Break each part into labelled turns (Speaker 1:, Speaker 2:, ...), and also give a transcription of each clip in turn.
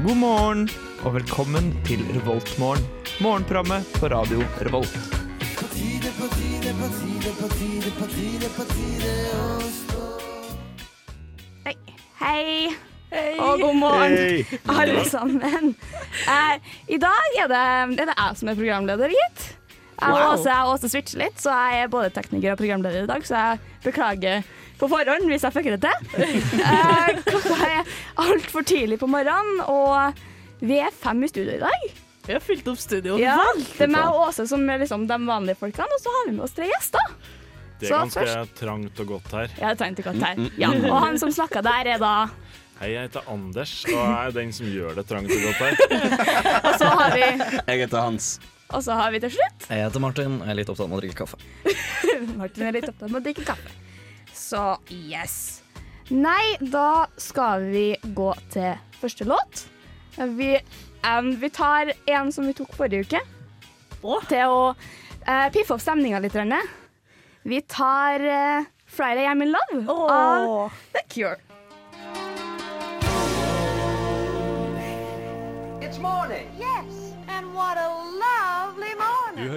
Speaker 1: morgen, og velkommen til Revoltmorgen. Morgenprogrammet på radio Revolt.
Speaker 2: Hei, og god morgen,
Speaker 1: Eh.
Speaker 2: alle sammen. Eh, I dag er det, er det jeg som er programleder, gitt. Jeg og Åse, jeg og Åse switcher litt, så jeg er både tekniker og programleder i dag, så jeg beklager på forhånd hvis jeg fucker det til. Eh, klokka er altfor tidlig på morgenen, og vi er fem i studio i dag.
Speaker 3: Vi har fylt opp studio.
Speaker 2: Ja, det er meg og Åse som er liksom de vanlige folkene, og så har vi med oss tre gjester.
Speaker 4: Det
Speaker 2: Så
Speaker 4: er ganske
Speaker 2: først-
Speaker 4: trangt og godt her.
Speaker 2: Ja, det trengte ikke å ta
Speaker 5: Mm,
Speaker 2: her. Ja, og han som snakka der, er da
Speaker 4: Hei, jeg heter Anders og jeg er den som gjør det trangt og godt her.
Speaker 2: Og så har vi,
Speaker 5: Jeg heter Hans.
Speaker 2: og så har vi til slutt
Speaker 6: Jeg heter Martin, og jeg er litt opptatt med å drikke kaffe.
Speaker 2: Martin er litt opptatt med å drikke kaffe. Så yes. Nei, da skal vi gå til første låt. Vi, em, vi tar en som vi tok forrige uke,
Speaker 3: Å?
Speaker 2: til å eh, piffe opp stemninga litt. Rønne. Vi tar eh, 'Friday I'm in Love' av
Speaker 3: Åh.
Speaker 2: The Cure.
Speaker 7: Yes, and what a lovely morning.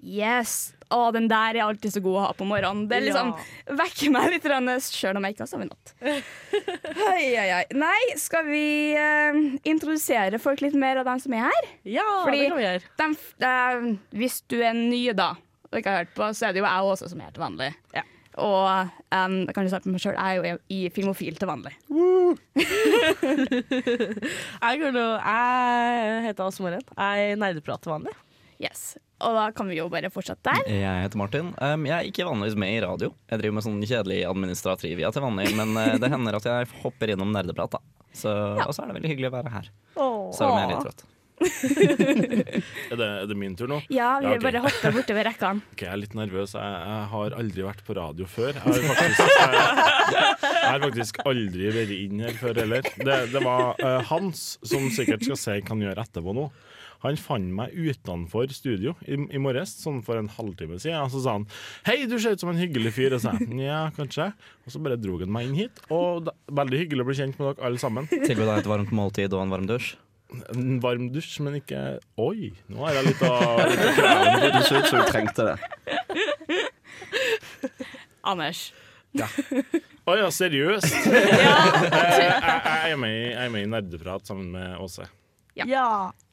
Speaker 2: Yes. Å, den der er alltid så god å ha på morgenen. Det liksom vekker meg litt sjøl om jeg ikke har sovet i natt. Oi, oi, oi. Nei, skal vi eh, introdusere folk litt mer av dem som er her?
Speaker 3: Ja,
Speaker 2: Fordi-
Speaker 3: det kan vi gjøre.
Speaker 2: Dem f- eh, hvis du er ny da, og ikke har hørt på, så er det jo jeg også som er til vanlig.
Speaker 3: Ja.
Speaker 2: Og um, jeg kan jo starte med meg sjøl, jeg er jo i Filmofil til vanlig.
Speaker 3: Jeg, går nå, jeg heter Åse Moren. Jeg nerdeprat til vanlig.
Speaker 2: Yes. Og da kan vi jo bare fortsette der.
Speaker 6: Jeg heter Martin. Um, jeg er ikke vanligvis med i radio. Jeg driver med sånn kjedelig administratrivia til vanlig, men eh, det hender at jeg hopper innom nerdeprat, da. Så, Og så er det veldig hyggelig å være her, selv om jeg er litt trøtt.
Speaker 4: Er det, er det min tur nå?
Speaker 2: Ja, vi
Speaker 4: Ja, ok.
Speaker 2: bare hopper bortover rekkene.
Speaker 4: Ok, jeg er litt nervøs. Jeg, jeg har aldri vært på radio før. Jeg har faktisk, jeg, jeg har faktisk aldri vært inn her før heller. Det, det var eh, Hans, som sikkert skal si hva han gjør etterpå nå. Han fant meg utenfor studio i, i morges, sånn for en halvtime siden. Og så sa han 'Hei, du ser ut som en hyggelig fyr'. Og så sa jeg ja, kanskje. Og så bare dro han meg inn hit. Og da, veldig hyggelig å bli kjent med dere alle sammen.
Speaker 6: Tilbød deg et varmt måltid og en varm dusj.
Speaker 4: En varm dusj, men ikke Oi, nå er jeg litt av litt av-
Speaker 5: Du så ut som du trengte det.
Speaker 2: Anders.
Speaker 4: Å ja, seriøst? Eh, jeg, jeg, er med, i- jeg er med i Nerdeprat sammen med Åse.
Speaker 2: Ja.
Speaker 3: Ja.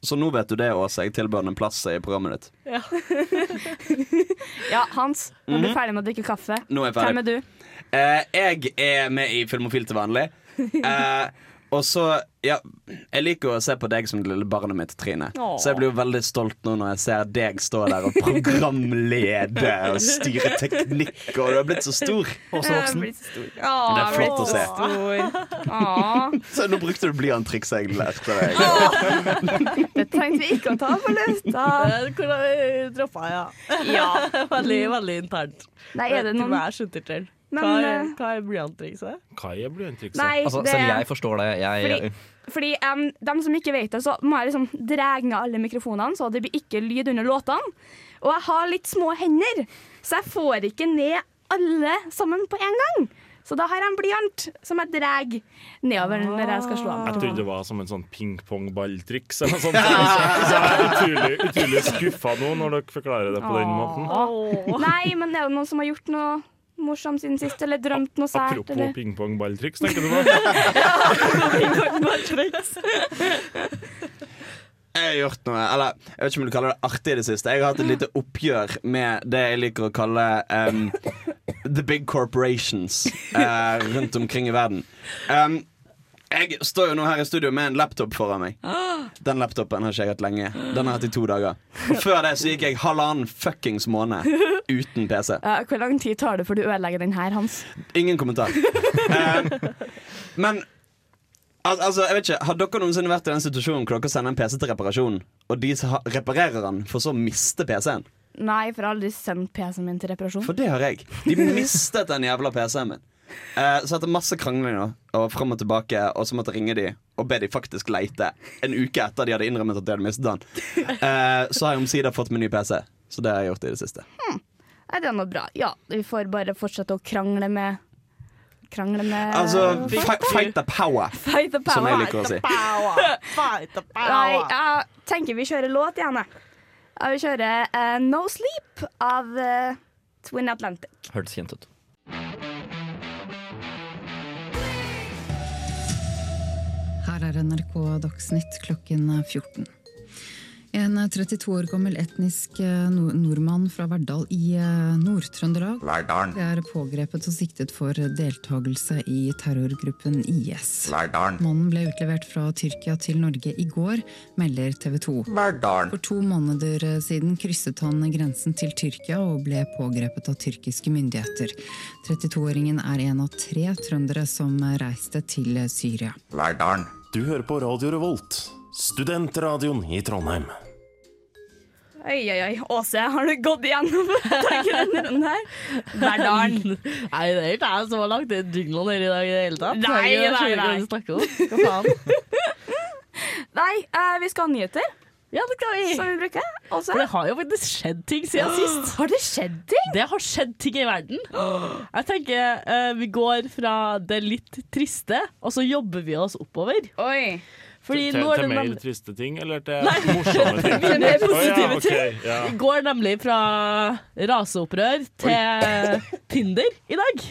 Speaker 5: Så nå vet du det, Åse. Jeg tilbød en plass i programmet ditt.
Speaker 2: Ja, Hans. Nå er du ferdig med å drikke kaffe.
Speaker 5: Mhm. Nå er jeg
Speaker 2: Hvem er
Speaker 5: ferdig.
Speaker 2: du?
Speaker 5: Eh, jeg er med i Filmofil til vanlig. Eh, og så Ja, jeg liker å se på deg som det lille barnet mitt, Trine.
Speaker 3: Åh.
Speaker 5: Så jeg blir jo veldig stolt nå når jeg ser deg stå der og programlede og styre teknikk, og du har blitt så stor. Eh,
Speaker 6: Også
Speaker 2: Jeg Eh,
Speaker 6: voksen.
Speaker 2: blir så stor.
Speaker 5: Det er flott å se.
Speaker 3: Stor.
Speaker 2: Åh,
Speaker 5: Så nå brukte du blyantrikset jeg lærte deg.
Speaker 2: det trengte vi ikke å ta på lufta.
Speaker 3: Eh, Hvordan vi droppa, ja.
Speaker 2: Ja.
Speaker 3: Veldig, veldig internt.
Speaker 2: Nei, Mm. er det
Speaker 3: Til
Speaker 2: noen
Speaker 3: meg er skjøntertøll.
Speaker 2: Men,
Speaker 3: Hva er,
Speaker 2: eh,
Speaker 3: hva er blyanttrikset?
Speaker 4: Hva er blyantrikset?
Speaker 2: Nei,
Speaker 6: Altså,
Speaker 2: det
Speaker 6: selv jeg forstår det. Jeg,
Speaker 2: Fordi- Fordi em, dem som ikke vet det, så må jeg liksom dregne alle mikrofonene, så det blir ikke lyd under låtene. Og jeg har litt små hender, så jeg får ikke ned alle sammen på en gang. Så da har jeg en blyant som jeg drar nedover når jeg skal slå
Speaker 4: Jeg
Speaker 2: av.
Speaker 4: trodde det var som en sånn pingpongballtriks eller noe sånt. Så jeg er utrolig, utrolig skuffa nå når dere forklarer det på den måten.
Speaker 2: Nei, men er det noen som har gjort noe morsomt siden sist, eller drømt noe sært?
Speaker 4: Apropos
Speaker 2: Eller?
Speaker 4: pingpongballtriks, tenker du på?
Speaker 5: Jeg har gjort noe, eller jeg vet ikke om du kaller det artig i det siste. Jeg har hatt et lite oppgjør med det jeg liker å kalle em, the big corporations eh, rundt omkring i verden. Em, jeg står jo nå her i studio med en laptop foran meg. Den laptopen har ikke jeg hatt lenge. Den har jeg hatt i to dager. Og før det så gikk jeg halvannen fuckings måned uten PC.
Speaker 2: Eh, hvor lang tid tar det før du ødelegger den her, Hans?
Speaker 5: Ingen kommentar. Em, men al altså, jeg vet ikke, Har dere noensinne vært i den situasjonen hvor dere sender en PC til reparasjon, og de som ha- reparerer den, for så å miste PC-en?
Speaker 2: Nei, for jeg har aldri sendt PC-en min til reparasjon.
Speaker 5: For det har jeg. De mistet den jævla PC-en min. Eh, så etter masse krangling nå, og fram og tilbake, og så måtte jeg ringe de og be de faktisk leite. En uke etter de hadde innrømmet at de hadde mistet den. Eh, så har jeg omsider fått min nye PC. Så det har jeg gjort i det siste.
Speaker 2: Nei, det er noe bra. Ja, vi får bare fortsette å krangle med kranglende
Speaker 5: Altså, fi- fight the power,
Speaker 2: Fight the
Speaker 5: som
Speaker 2: power.
Speaker 5: jeg liker å si.
Speaker 3: Fight the
Speaker 2: Nei, jeg tenker vi kjører låt igjen, jeg. Ja, vi kjører eh, No Sleep av eh, Twin Atlantic.
Speaker 6: Hørtes kjent ut.
Speaker 8: Her er NRK Dagsnytt klokken 14. En 32 år gammel etnisk eh, nor- nordmann fra Verdal i eh, Nord-Trøndelag
Speaker 9: Verdalen,
Speaker 8: er pågrepet og siktet for deltakelse i terrorgruppen IS.
Speaker 9: Verdalen,
Speaker 8: Mannen ble utlevert fra Tyrkia til Norge i går, melder TV 2.
Speaker 9: Verdalen,
Speaker 8: For to måneder eh, siden krysset han grensen til Tyrkia og ble pågrepet av tyrkiske myndigheter. 32-åringen er en av tre trøndere som eh, reiste til Syria.
Speaker 9: Verdalen.
Speaker 10: Du hører på Radio Revolt, studentradioen i Trondheim.
Speaker 2: Oi, oi, oi. Åse, har du gått igjennom tanken denne runden her? Verdalen.
Speaker 3: Nei, det er ikke jeg som har lagt det jinglen her i dag i det hele tatt.
Speaker 2: Nei,
Speaker 3: Herregud,
Speaker 2: nei,
Speaker 3: jeg skjønner ikke hva
Speaker 2: nei.
Speaker 3: du snakker om. Hva faen?
Speaker 2: Nei, eh, vi skal ha nyheter,
Speaker 3: Ja, det skal
Speaker 2: som
Speaker 3: vi.
Speaker 2: vi bruker. Åse.
Speaker 3: For det har jo faktisk skjedd ting siden sist.
Speaker 2: Har det skjedd ting?
Speaker 3: Det har skjedd ting i verden. Jeg tenker eh, vi går fra det litt triste, og så jobber vi oss oppover.
Speaker 2: Oi.
Speaker 3: Fordi
Speaker 4: til,
Speaker 3: nå er
Speaker 4: til
Speaker 3: det
Speaker 4: mer
Speaker 3: nemlig
Speaker 4: triste ting, eller til morsomme ting?
Speaker 3: Til mer
Speaker 4: Å, ja,
Speaker 3: positive
Speaker 4: ok,
Speaker 3: ting.
Speaker 4: ja.
Speaker 3: Vi går nemlig fra raseopprør til Tinder i dag.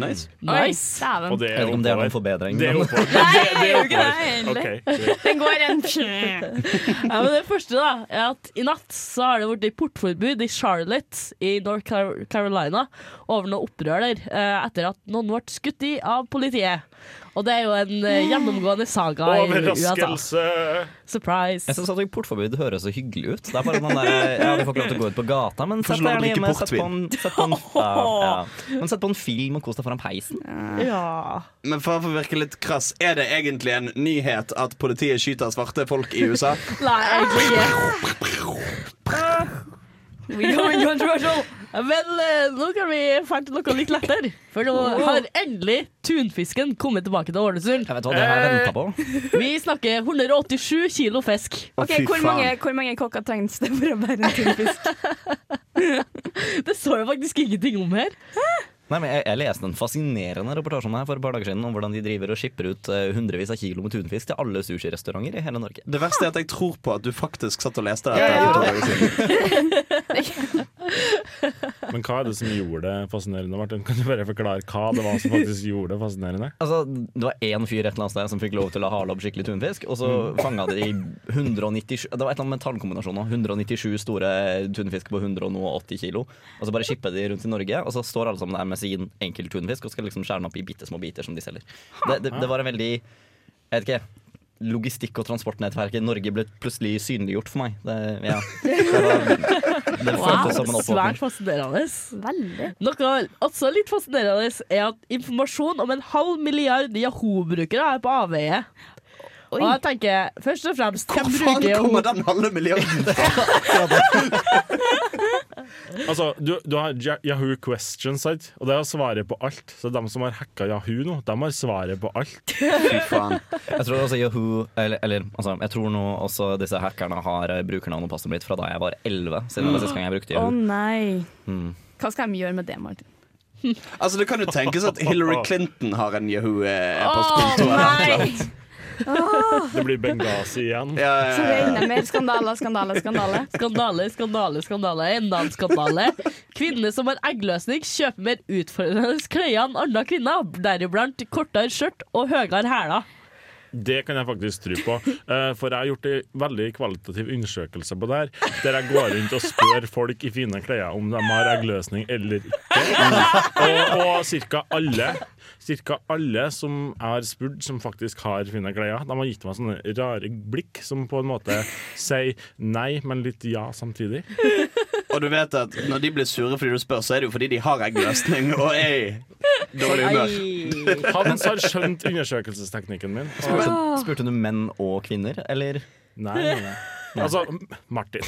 Speaker 5: Nice.
Speaker 3: Nice.
Speaker 4: Og det
Speaker 6: Jeg vet
Speaker 4: er
Speaker 6: ikke om det er noen
Speaker 4: oppover.
Speaker 6: forbedring.
Speaker 4: Det er
Speaker 6: men-
Speaker 4: oppover.
Speaker 2: det er jo ikke det
Speaker 4: Ok,
Speaker 2: heller.
Speaker 4: greit.
Speaker 2: Den går en
Speaker 3: Ja, men det første da, er at i natt så har det vært portforbud i Charlotte i North Car- Carolina over noe opprør der, eh, etter at noen ble skutt i av politiet. Og det er jo en eh, gjennomgående saga i USA.
Speaker 4: Overraskelse!
Speaker 3: Surprise.
Speaker 6: Jeg syns portforbud høres så hyggelig ut. Det er bare noen der, ja, Du får ikke lov til å gå ut på gata, men sett
Speaker 5: Får ikke lov
Speaker 6: deg
Speaker 5: til å
Speaker 6: gjerne
Speaker 5: drikke
Speaker 6: hjemme, sett på, en, sett, på en, ja, ja. men sett på en film og kos deg foran peisen.
Speaker 3: Ja.
Speaker 5: Men for å virke litt krass, er det egentlig en nyhet at politiet skyter svarte folk i USA?
Speaker 3: Nei, egentlig ikke.
Speaker 2: We go in
Speaker 6: sånn.
Speaker 2: controversial.
Speaker 3: Men eh, nå kan vi fære til noe litt lettere. For nå har endelig tunfisken kommet tilbake til Ålesund.
Speaker 6: Jeg vet hva, Det har jeg venta på.
Speaker 3: Vi snakker 187 kilo fisk.
Speaker 5: Å,
Speaker 2: Ok,
Speaker 5: fy
Speaker 2: hvor
Speaker 5: faen.
Speaker 2: mange, hvor mange kokker trengs det for å bære en tunfisk?
Speaker 3: Det står jo faktisk ingenting om her.
Speaker 6: Nei, men jeg, jeg leste en fascinerende reportasje om det her for et par dager siden, om hvordan de driver og skipper ut eh, hundrevis av kilo med tunfisk til alle sushirestauranter i hele Norge.
Speaker 5: Det verste er at jeg tror på at du faktisk satt og leste
Speaker 6: Ja,
Speaker 5: dette.
Speaker 6: ja.
Speaker 5: for to dager siden.
Speaker 4: Men hva er det som gjorde det fascinerende, Martin? Kan du bare forklare hva det var som faktisk gjorde det fascinerende?
Speaker 6: Altså, Det var én fyr et eller annet sted som fikk lov til å hale opp skikkelig tunfisk, og så fanga de 197 Det var et eller annet med tallkombinasjoner. 197 store tunfisk på 180 kilo. Og så bare shipper de rundt i Norge, og så står alle sammen der med sin enkelt tunfisk og skal liksom skjære den opp i bitte små biter som de selger. Det, det, det var en veldig Jeg vet ikke. Logistikk- og transportnettverket i Norge ble plutselig synliggjort for meg. Det, ja. det, var, det føltes som en oppvåkning.
Speaker 3: Svært fascinerende.
Speaker 2: Veldig.
Speaker 3: Noe også litt fascinerende er at informasjon om en halv milliard Yahoo-brukere er på avveie. Og jeg tenker først og fremst
Speaker 5: Hvor
Speaker 3: hvem
Speaker 5: faen
Speaker 3: bruker Yahoo?
Speaker 5: kommer den halve milliarden fra?
Speaker 4: Altså, du, du har Ja- Yahoo Questions, sant? og det er svaret på alt. Så de som har hacka Yahoo nå, de har svaret på alt.
Speaker 5: Fy faen.
Speaker 6: Jeg tror også Yahoo Eller, eller altså, jeg tror nå også disse hackerne har eh, brukernavn og passordet mitt fra da jeg var 11. Siden det var sist gang jeg brukte
Speaker 2: Å
Speaker 6: Yahoo.
Speaker 2: nei.
Speaker 3: Hmm.
Speaker 6: Mm.
Speaker 2: Hva skal de gjøre med det, Martin?
Speaker 5: Altså, det kan jo tenkes at Hillary Clinton har en eh,
Speaker 2: Å
Speaker 5: Yahoo-postkonto.
Speaker 2: nei!
Speaker 4: Det blir Benghazi igjen.
Speaker 5: ja,
Speaker 2: Så
Speaker 5: ja, ja.
Speaker 2: regner mer skandaler, skandaler, skandaler.
Speaker 3: Skandale, skandale, skandale. Enda en skandale. Kvinner som har eggløsning, kjøper mer utfordrende klær enn andre kvinner. Deriblant kortere skjørt og høyere hæler.
Speaker 4: Det kan jeg faktisk tro på. Eh, For jeg har gjort en veldig kvalitativ undersøkelse på det her. Der jeg går rundt og spør folk i fine klær om de har eggløsning eller ikke. Og, og cirka alle Cirka alle som jeg har spurt som faktisk har fine klær, de har gitt meg sånne rare blikk som på en måte sier nei, men litt ja samtidig.
Speaker 5: Og du vet at når de blir sure fordi du spør, så er det jo fordi de har eggløsning og er i dårlig humør.
Speaker 4: Hans har skjønt undersøkelsesteknikken min.
Speaker 6: Spurte, spurte du menn og kvinner, eller?
Speaker 4: Nei, nei, nei. Altså, Martin.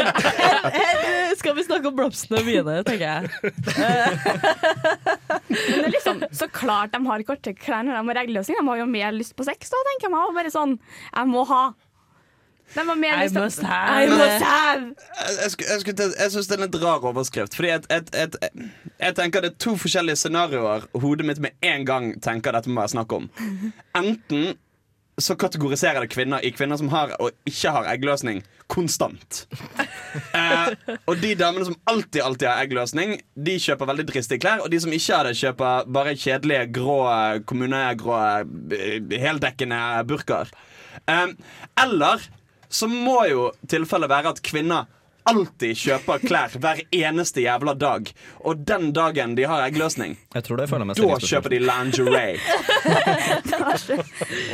Speaker 3: Eh, Skal vi snakke om blomstene og biene, tenker jeg.
Speaker 2: Men det er liksom, så klart de har korte klær når de har regelløsning. De har jo mer lyst på sex da, tenker jeg meg. Og Bare sånn, jeg må sånn, ha. Den var mer
Speaker 3: I
Speaker 2: lyst-
Speaker 3: must
Speaker 2: I
Speaker 3: have.
Speaker 2: must have.
Speaker 5: Jeg, jeg, skulle- jeg, skulle til- jeg syns det er en litt rar overskrift. Fordi jeg, jeg, jeg, jeg, jeg tenker det er to forskjellige scenarioer hodet mitt med en gang tenker dette må være snakk om. Enten så kategoriserer det kvinner i kvinner som har og ikke har eggløsning, konstant. Eh, og de damene som alltid alltid har eggløsning, de kjøper veldig dristige klær. Og de som ikke har det, kjøper bare kjedelige, grå, kommunegrå, eh, heldekkende burkaer. Eh, eller så må jo tilfellet være at kvinner alltid kjøper klær hver eneste jævla dag. Og den dagen de har eggløsning,
Speaker 6: Jeg tror det føler jeg meg
Speaker 5: da kjøper de lingerie.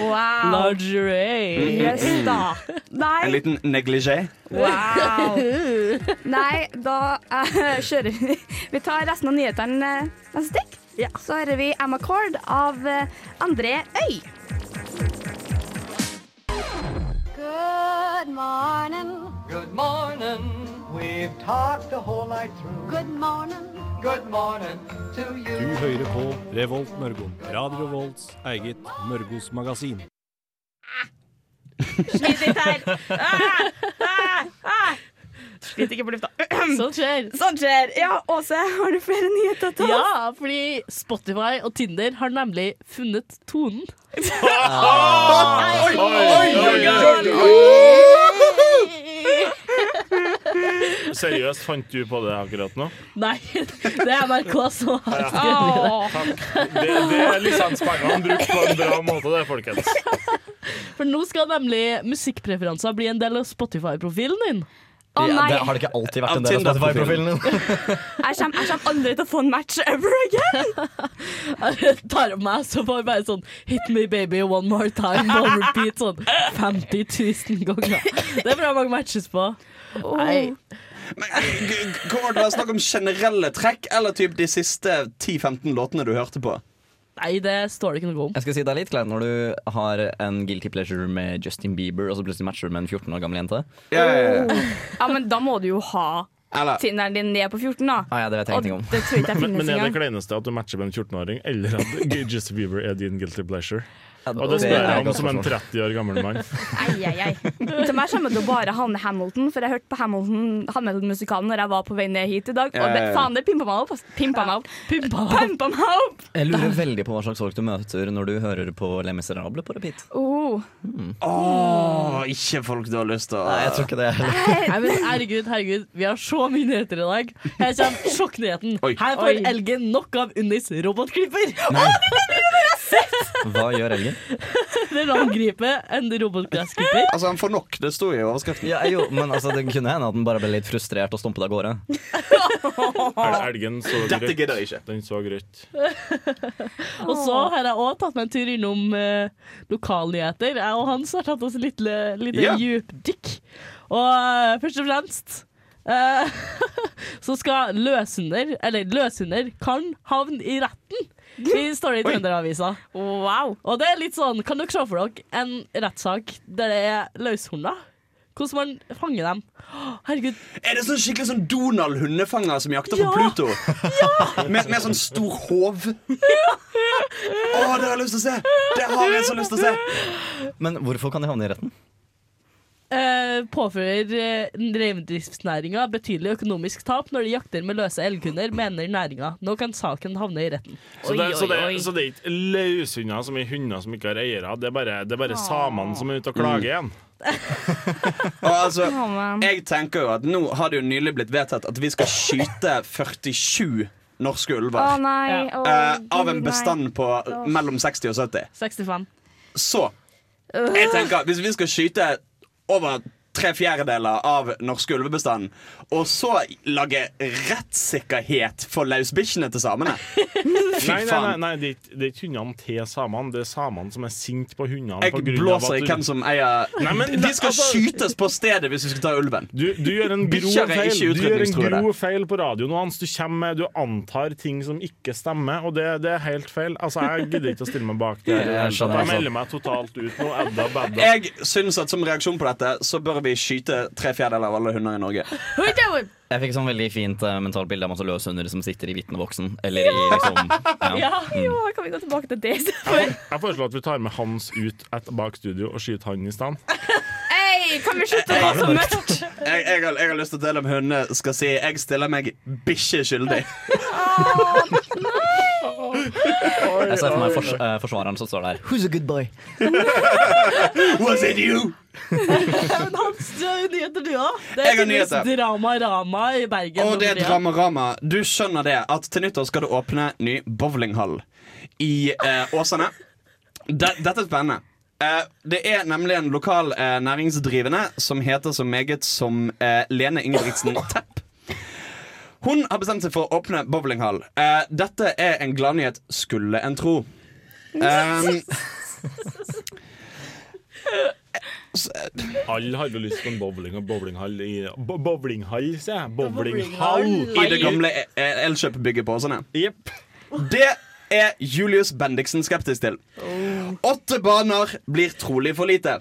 Speaker 2: Wow.
Speaker 3: Lingerie.
Speaker 2: Yes, da.
Speaker 5: En
Speaker 2: Nei,
Speaker 5: liten neglisjé.
Speaker 2: wow. Nei, da eh, kjører vi. Vi tar resten av nyhetene eh, neste stikk. Så hører vi Emma Cord av eh, André Øy.
Speaker 7: Good morning.
Speaker 9: Good morning. We've talked the whole night through.
Speaker 7: Good morning.
Speaker 9: Good morning to you.
Speaker 11: Du hører på Revolt Mørgo. Radio Revolts eget Mørgos magasin.
Speaker 2: Ah, Sliter ah. ikke på lufta.
Speaker 3: Sånt skjer.
Speaker 2: Sånn skjer. Ja, Åse, har du flere nyheter til oss?
Speaker 3: Ja, fordi Spotify og Tinder har nemlig funnet tonen.
Speaker 4: Oi, oi, oi, oi, oi. Seriøst, fant du på det akkurat nå?
Speaker 3: Nei, det er NRK som har skrevet det.
Speaker 4: Det, det er lisenspengene brukt på en bra måte, det, folkens.
Speaker 3: For nå skal nemlig musikkpreferanser bli en del av Spotify-profilen din.
Speaker 2: Å
Speaker 6: Ja,
Speaker 2: nei,
Speaker 6: det har det ikke alltid vært
Speaker 5: Av
Speaker 6: en del av
Speaker 5: Tinder-profilen.
Speaker 6: Spotify-profilen.
Speaker 2: jeg kommer, jeg kommer aldri til å få en match ever again.
Speaker 3: Jeg tar opp meg, så får jeg bare sånn Hit me baby one more time på repeat sånn 50 000 ganger. Det er bra mange matches på. Nei.
Speaker 5: Men, eh, g- g- Kommer det til å være snakk om generelle trekk, eller typ de siste 10-15 låtene du hørte på?
Speaker 3: Nei, det står det ikke noe om.
Speaker 6: Jeg skal si Det er litt kleint når du har en guilty pleasure med Justin Bieber, og så plutselig matcher du med en 14 år gammel jente.
Speaker 5: Ja, ja, ja.
Speaker 2: Ja, men da må du jo ha
Speaker 5: Eller
Speaker 2: Tinderen din ned på 14, da.
Speaker 6: Ah, ja, det vet jeg
Speaker 2: Og
Speaker 6: ingenting om.
Speaker 2: det tror jeg ikke jeg
Speaker 4: Men,
Speaker 2: finnes
Speaker 4: men er det
Speaker 2: engang.
Speaker 4: kleineste at du matcher med en 14-åring, eller at Justin Bieber er din guilty pleasure?
Speaker 6: Ja,
Speaker 4: Og det
Speaker 6: er
Speaker 4: spør
Speaker 6: et
Speaker 4: jeg om
Speaker 6: godt
Speaker 4: som en
Speaker 6: spørsmål.
Speaker 4: 30 år gammel mann.
Speaker 2: Ei, ei, ei. Til meg kommer det å bare havne Hamilton, for jeg hørte på Hamilton- Hamilton-musikalen når jeg var på vei ned hit i dag, og det,
Speaker 5: Ja, ja.
Speaker 2: faen, det pimpa meg opp. ass. Pimpa meg opp.
Speaker 3: Pimpa.
Speaker 2: Pumpa meg opp!
Speaker 6: Jeg lurer veldig på hva slags folk du møter når du hører på Le Miserable på repeat.
Speaker 2: Oh.
Speaker 5: Åh, ikke folk du har lyst til å
Speaker 6: Nei, jeg tror ikke det heller.
Speaker 3: Nei, men herregud, herregud, vi har så mye nyheter i dag. Her kommer sjokknyheten.
Speaker 5: Oi.
Speaker 3: Her får elgen nok av Unnis robotklipper.
Speaker 6: Hva gjør elgen?
Speaker 3: Den angriper en robotgressklipper.
Speaker 5: Altså, han får nok. Det sto jo i overskriften.
Speaker 6: Ja, jo, men altså, Det kunne hende at den bare ble litt frustrert og stumpet av gårde.
Speaker 4: Er det Elgen så
Speaker 5: Dette
Speaker 4: grøtt.
Speaker 5: gidder jeg ikke.
Speaker 4: Den så grøtt.
Speaker 3: Og så har jeg òg tatt meg en tur innom eh, lokalnyheter. Jeg og Hans har tatt oss et lite, lite
Speaker 5: Ja.
Speaker 3: djupdykk. Og eh, først og fremst eh, så skal løshunder, eller løshunder, kan havne i retten. I står det i Trønderavisa.
Speaker 2: Wow.
Speaker 3: Og det er litt sånn, kan dere se for dere en rettssak der det er løshunder? Hvordan man fanger dem. Å, Herregud,
Speaker 5: Er det sånn skikkelig sånn Donald-hundefanger som jakter
Speaker 3: Ja.
Speaker 5: på Pluto? Med, med sånn stor håv? Åh, det har jeg lyst til å se! Det har jeg så lyst til å se!
Speaker 6: Men hvorfor kan de havne i retten?
Speaker 3: eh, påfører eh, reindriftsnæringa betydelig økonomisk tap når de jakter med løse elghunder, mener næringa. Nå kan saken havne i retten.
Speaker 4: Så det, så det, så det er ikke løshunder som er hunder som ikke har eiere, det er bare, det er bare samene som er ute og klager igjen.
Speaker 5: Og altså,
Speaker 2: Å, men.
Speaker 5: jeg tenker jo at nå har det jo nylig blitt vedtatt at vi skal skyte 47 norske
Speaker 2: Å
Speaker 5: ulver.
Speaker 2: nei. Å,
Speaker 5: eh, av en
Speaker 2: Gud, nei.
Speaker 5: bestand på mellom 60 og 70.
Speaker 3: 65.
Speaker 5: Så jeg tenker, hvis vi skal skyte over tre fjerdedeler av norske ulvebestanden, og så lage rettssikkerhet for løsbikkjene til samene Fy
Speaker 4: Nei, nei, nei,
Speaker 5: faen.
Speaker 4: nei det, er ikke, det er ikke hundene til samene, det er samene som er sinte på hundene. på
Speaker 5: Jeg
Speaker 4: grunn av at
Speaker 5: blåser i
Speaker 4: du-
Speaker 5: hvem som eier
Speaker 4: Nei, men
Speaker 5: De
Speaker 4: det-
Speaker 5: skal
Speaker 4: altså-
Speaker 5: skytes på stedet hvis vi skal ta ulven.
Speaker 4: Du, du gjør en grov
Speaker 5: Bikkjer er
Speaker 4: feil
Speaker 5: ikke
Speaker 4: Du gjør en
Speaker 5: utrydningstruede.
Speaker 4: grov feil på radioen hans. Du, kommer, med- du antar ting som ikke stemmer, og det, det er helt feil. Altså, Jeg gidder ikke å stille meg bak det.
Speaker 6: Jeg
Speaker 4: Jeg,
Speaker 6: skjønner, altså.
Speaker 4: melder meg totalt ut nå. Edda bedda.
Speaker 5: Jeg syns at som reaksjon på dette, så bør vi skyte tre fjerdedeler av alle hunder i Norge.
Speaker 6: Jeg fikk sånn veldig fint eh, mentalt bilde av masse løshunder som sitter i vitneboksen. Eller i liksom ja.
Speaker 2: Jo, kan vi gå tilbake til det?
Speaker 4: Jeg foreslår at vi tar med Hans ut et bak studio og skyter han i stand.
Speaker 2: Hey! Nei, kan vi slutte? Det var så mørkt.
Speaker 5: Jeg, jeg, har, jeg har lyst til å dele om hundene skal si 'jeg stiller meg bikkje skyldig'.
Speaker 6: Jeg ser for meg fors eh, forsvareren som står der. Who's a good boy?
Speaker 5: Was it you?
Speaker 3: Men Hans, du har jo nyheter, du òg. Det
Speaker 5: Jeg
Speaker 3: er
Speaker 5: har
Speaker 3: tydeligvis
Speaker 5: nyheter.
Speaker 3: drama-rama i Bergen.
Speaker 5: Og det er
Speaker 3: Maria.
Speaker 5: drama-rama. Du skjønner det at til nyttår skal det åpne ny bowlinghall i eh, Åsane. De, dette er spennende. Eh, det er nemlig en lokal eh, næringsdrivende som heter så meget som eh, Lene Ingebrigtsen Tepp. Hun har bestemt seg for å åpne bowlinghall. Eh, dette er en gladnyhet, skulle en tro. Ehm, Em,
Speaker 4: Alle har jo lyst på en bowling og bowlinghall i bo Bowlinghall, sier jeg. Bowlinghall
Speaker 5: I det gamle e- e- Elkjøp-bygget på Åsane.
Speaker 4: Jepp.
Speaker 5: Det er Julius Bendiksen skeptisk til. Åtte baner blir trolig for lite.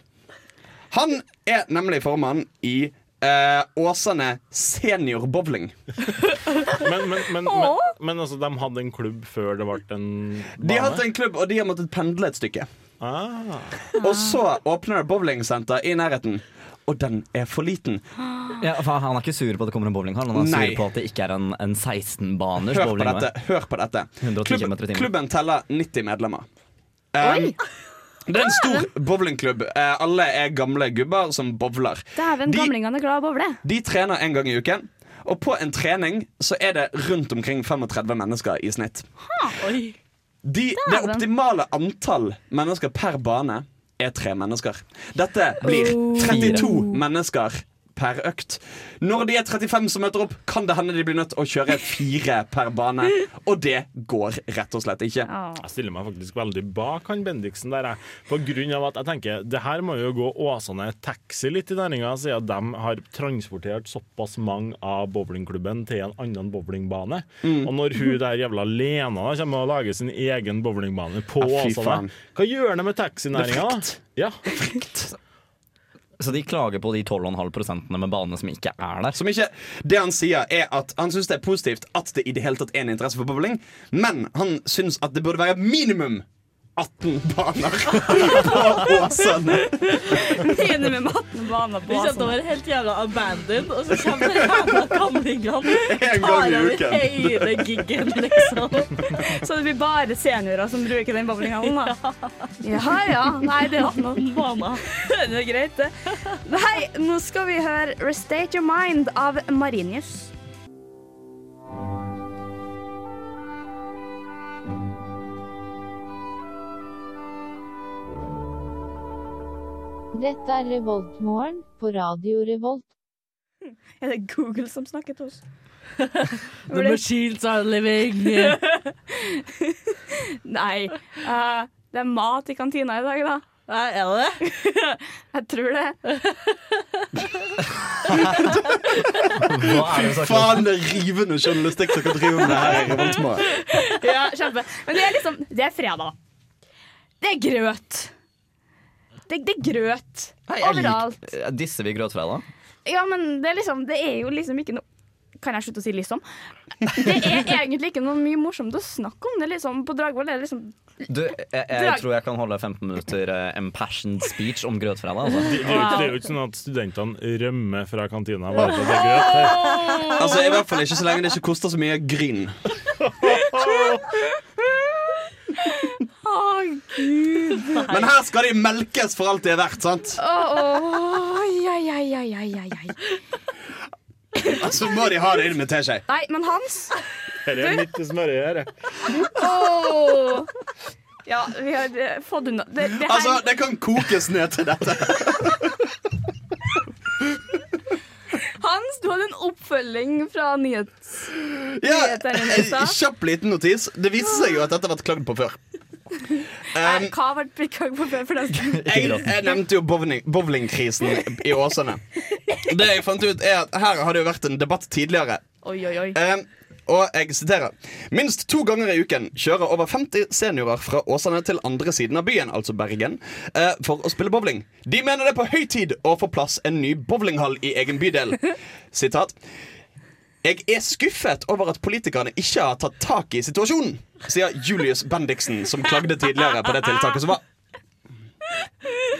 Speaker 5: Han er nemlig formann i eh, Åsane Senior Bowling.
Speaker 4: Men, men, men, men, men altså, de hadde en klubb før det ble en
Speaker 5: De har hatt en klubb, og de har måttet pendle et stykke.
Speaker 4: Ah.
Speaker 5: Og så åpner det bowlingsenter i nærheten, og den er for liten.
Speaker 6: Ja, for han er ikke sur på at det kommer en bowlinghall. Han er
Speaker 5: Nei.
Speaker 6: sur på at det ikke er en, en 16-baners
Speaker 5: Hør på dette.
Speaker 6: bowlinghall.
Speaker 5: Hør på dette.
Speaker 6: 110
Speaker 5: Klubb-
Speaker 6: kilometer i timen.
Speaker 5: klubben teller 90 medlemmer. Um, det er en stor bowlingklubb. Eh, alle er gamle gubber som bowler.
Speaker 2: Dæven,
Speaker 5: De-
Speaker 2: gamlingene er glad i å bowle.
Speaker 5: De trener en gang i uken. Og på en trening så er det rundt omkring 35 mennesker i snitt.
Speaker 3: Oi.
Speaker 5: De, det optimale antall mennesker per bane er tre mennesker. Dette blir 32 mennesker per økt. Når de er 35 som møter opp, kan det hende de blir nødt til å kjøre fire per bane. Og det går rett og slett ikke.
Speaker 4: Jeg stiller meg faktisk veldig bak han Bendiksen der, jeg. På grunn av at jeg tenker det her må jo gå Åsane taxi litt i næringa, siden de har transportert såpass mange av bowlingklubben til en annen bowlingbane.
Speaker 5: Mm.
Speaker 4: Og når hun der jævla Lena da kommer og lager sin egen bowlingbane på
Speaker 5: Ja, fy faen.
Speaker 4: Åsane, hva gjør det med taxinæringa, da? Ja.
Speaker 6: Så de klager på de 12,5 med banene som ikke er der.
Speaker 5: Som ikke, det han sier er at han syns det er positivt at det i det hele tatt er en interesse for bowling, men han syns at det burde være minimum 18 baner på Åsane.
Speaker 2: Enig med matten og banen
Speaker 3: Vi
Speaker 2: på.
Speaker 3: kjente å
Speaker 2: Sånn.
Speaker 3: være helt jævla abandoned, og så kommer den jævla gamlingene
Speaker 5: En
Speaker 3: tar
Speaker 5: gang i
Speaker 3: over
Speaker 5: uken.
Speaker 3: hele giggen, liksom.
Speaker 2: Så det blir bare seniorer som bruker den bowlinghallen, da. Ja ja. Nei, det var noe.
Speaker 3: Bana.
Speaker 2: Det er greit, det. Nei, nå skal vi høre 'Restate Your Mind' av Marinius.
Speaker 12: Dette er Revoltmorgen på Radio Revolt.
Speaker 2: Hm. Er det Google som snakker til oss?
Speaker 3: The machines are living.
Speaker 2: Nei. eh, det er mat i kantina i dag, da.
Speaker 3: Nei, er det det?
Speaker 2: Jeg tror det.
Speaker 6: Hva er det
Speaker 5: Fy
Speaker 6: vi snakker om?
Speaker 5: faen, det er rivende journalistikk dere driver med her. i Revoltmorgen.
Speaker 2: Ja, kjempe. Men det er liksom Det er fredag. Det er grøt. Det, det er grøt
Speaker 6: Nei, jeg lik-
Speaker 2: overalt.
Speaker 6: Eh, Disser vi grøtfredag?
Speaker 2: Ja, men det er liksom Det er jo liksom ikke noe Kan jeg slutte å si 'liksom'? Det er egentlig ikke noe mye morsomt å snakke om. Det er liksom På Dragvoll er det liksom
Speaker 6: Du, jeg, jeg
Speaker 2: Drag-
Speaker 6: tror jeg kan holde 15 minutter eh, impassioned speech om grøtfredag. Altså.
Speaker 4: Det, det, er jo ikke- det er jo ikke sånn at studentene rømmer fra kantina bare for at det er grøt.
Speaker 5: Altså, I hvert fall ikke så lenge det ikke koster så mye gryn.
Speaker 2: Å, gud.
Speaker 5: Men her skal de melkes for alt de er verdt, sant?
Speaker 2: Å, å, ai, ai, ai, ai, ai, ai, ai.
Speaker 5: Så må de ha det inn med teskje.
Speaker 2: Nei, men Hans
Speaker 4: Dette er midt i smørøyet. dette.
Speaker 2: Åh. Ja, vi har eh, fått unna det, det her,
Speaker 5: Altså, det kan kokes ned til dette.
Speaker 2: Hans, du hadde en oppfølging fra nyhets...
Speaker 5: Ja,
Speaker 2: Nyheter i nyheter.
Speaker 5: Kjapp liten notis. Det viser seg jo at dette har vært klagd på før.
Speaker 2: Nei,
Speaker 5: Um,
Speaker 2: hva har vært prikka på før for den?
Speaker 5: jeg, jeg nevnte jo bowling- bowlingkrisen i Åsane. Det jeg fant ut er at Her har det jo vært en debatt tidligere.
Speaker 2: Oi, oi, oi.
Speaker 5: Eh, og jeg siterer Minst to ganger i uken kjører over 50 seniorer fra Åsane til andre siden av byen, altså Bergen, eh, for å spille bowling. De mener det er på høy tid å få plass en ny bowlinghall i egen bydel. Sitat. Jeg er skuffet over at politikerne ikke har tatt tak i situasjonen, sier Julius Bendiksen, som klagde tidligere på det tiltaket som var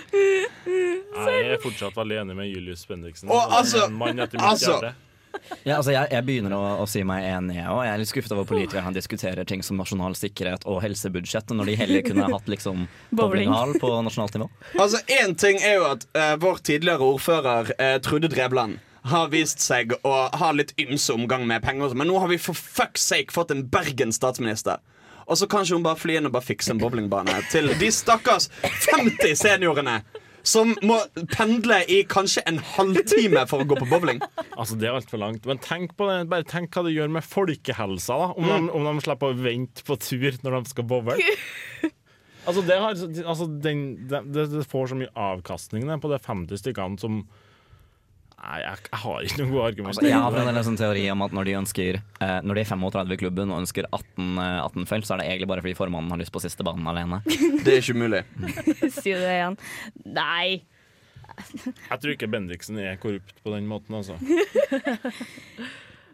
Speaker 4: Jeg er er fortsatt veldig enig med Julius Bendiksen.
Speaker 5: Å, altså,
Speaker 4: En mann etter mitt
Speaker 5: altså.
Speaker 4: hjerte.
Speaker 6: Ja, altså jeg, jeg begynner å, å si meg enig, jeg òg. Jeg er litt skuffet over politikere. Han diskuterer ting som nasjonal sikkerhet og helsebudsjett, når de heller kunne hatt liksom
Speaker 5: Bowling.
Speaker 6: bowlinghall på nasjonalt nivå.
Speaker 5: Altså, Én ting er jo at eh, vår tidligere ordfører eh, Trude Drevland har vist seg å ha litt ymse omgang med penger. og sånn, Men nå har vi for fuck's sake fått en Bergen-statsminister. Og så kanskje hun bare fly inn og bare fikse en bowlingbane til de stakkars 50 seniorene som må pendle i kanskje en halvtime for å gå på bowling.
Speaker 4: Altså, Det er altfor langt. Men tenk på det, bare tenk hva det gjør med folkehelsa da om,
Speaker 5: Mm.
Speaker 4: de, om de slipper å vente på tur når de skal bowle. Altså, det, har, altså den, det, det det får så mye avkastning det, på de 50 stykkene som Nei, jeg, jeg har ikke noen gode
Speaker 6: Altså,
Speaker 4: argumenter.
Speaker 6: jeg har en sånn teori om at når de, ønsker, eh, når de er 35 i klubben og ønsker 18, eh, 18 felt, så er det egentlig bare fordi formannen har lyst på siste banen alene.
Speaker 5: Det er ikke umulig.
Speaker 2: si det igjen. Nei.
Speaker 4: Jeg tror ikke Bendiksen er korrupt på den måten, altså.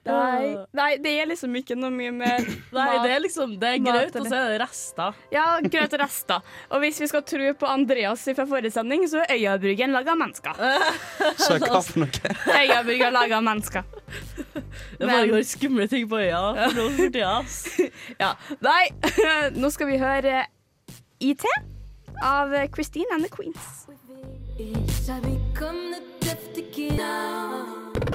Speaker 2: Nei. Nei, det er liksom ikke noe mye mer
Speaker 3: Nei, det er liksom Det er
Speaker 2: Mat,
Speaker 3: grøt,
Speaker 2: eller?
Speaker 3: og så er det rester.
Speaker 2: Ja, grøt og rester. Og hvis vi skal tro på Andreas fra forrige sending, så er Øyabryggen laga av mennesker.
Speaker 5: Så hva for noe?
Speaker 2: Øyabryggen laga av mennesker.
Speaker 3: Det foregår skumle ting på øya nå for tida. ass.
Speaker 2: Ja. Nei, nå skal vi høre IT av Christine and the Queens.
Speaker 7: Each I become the gift again.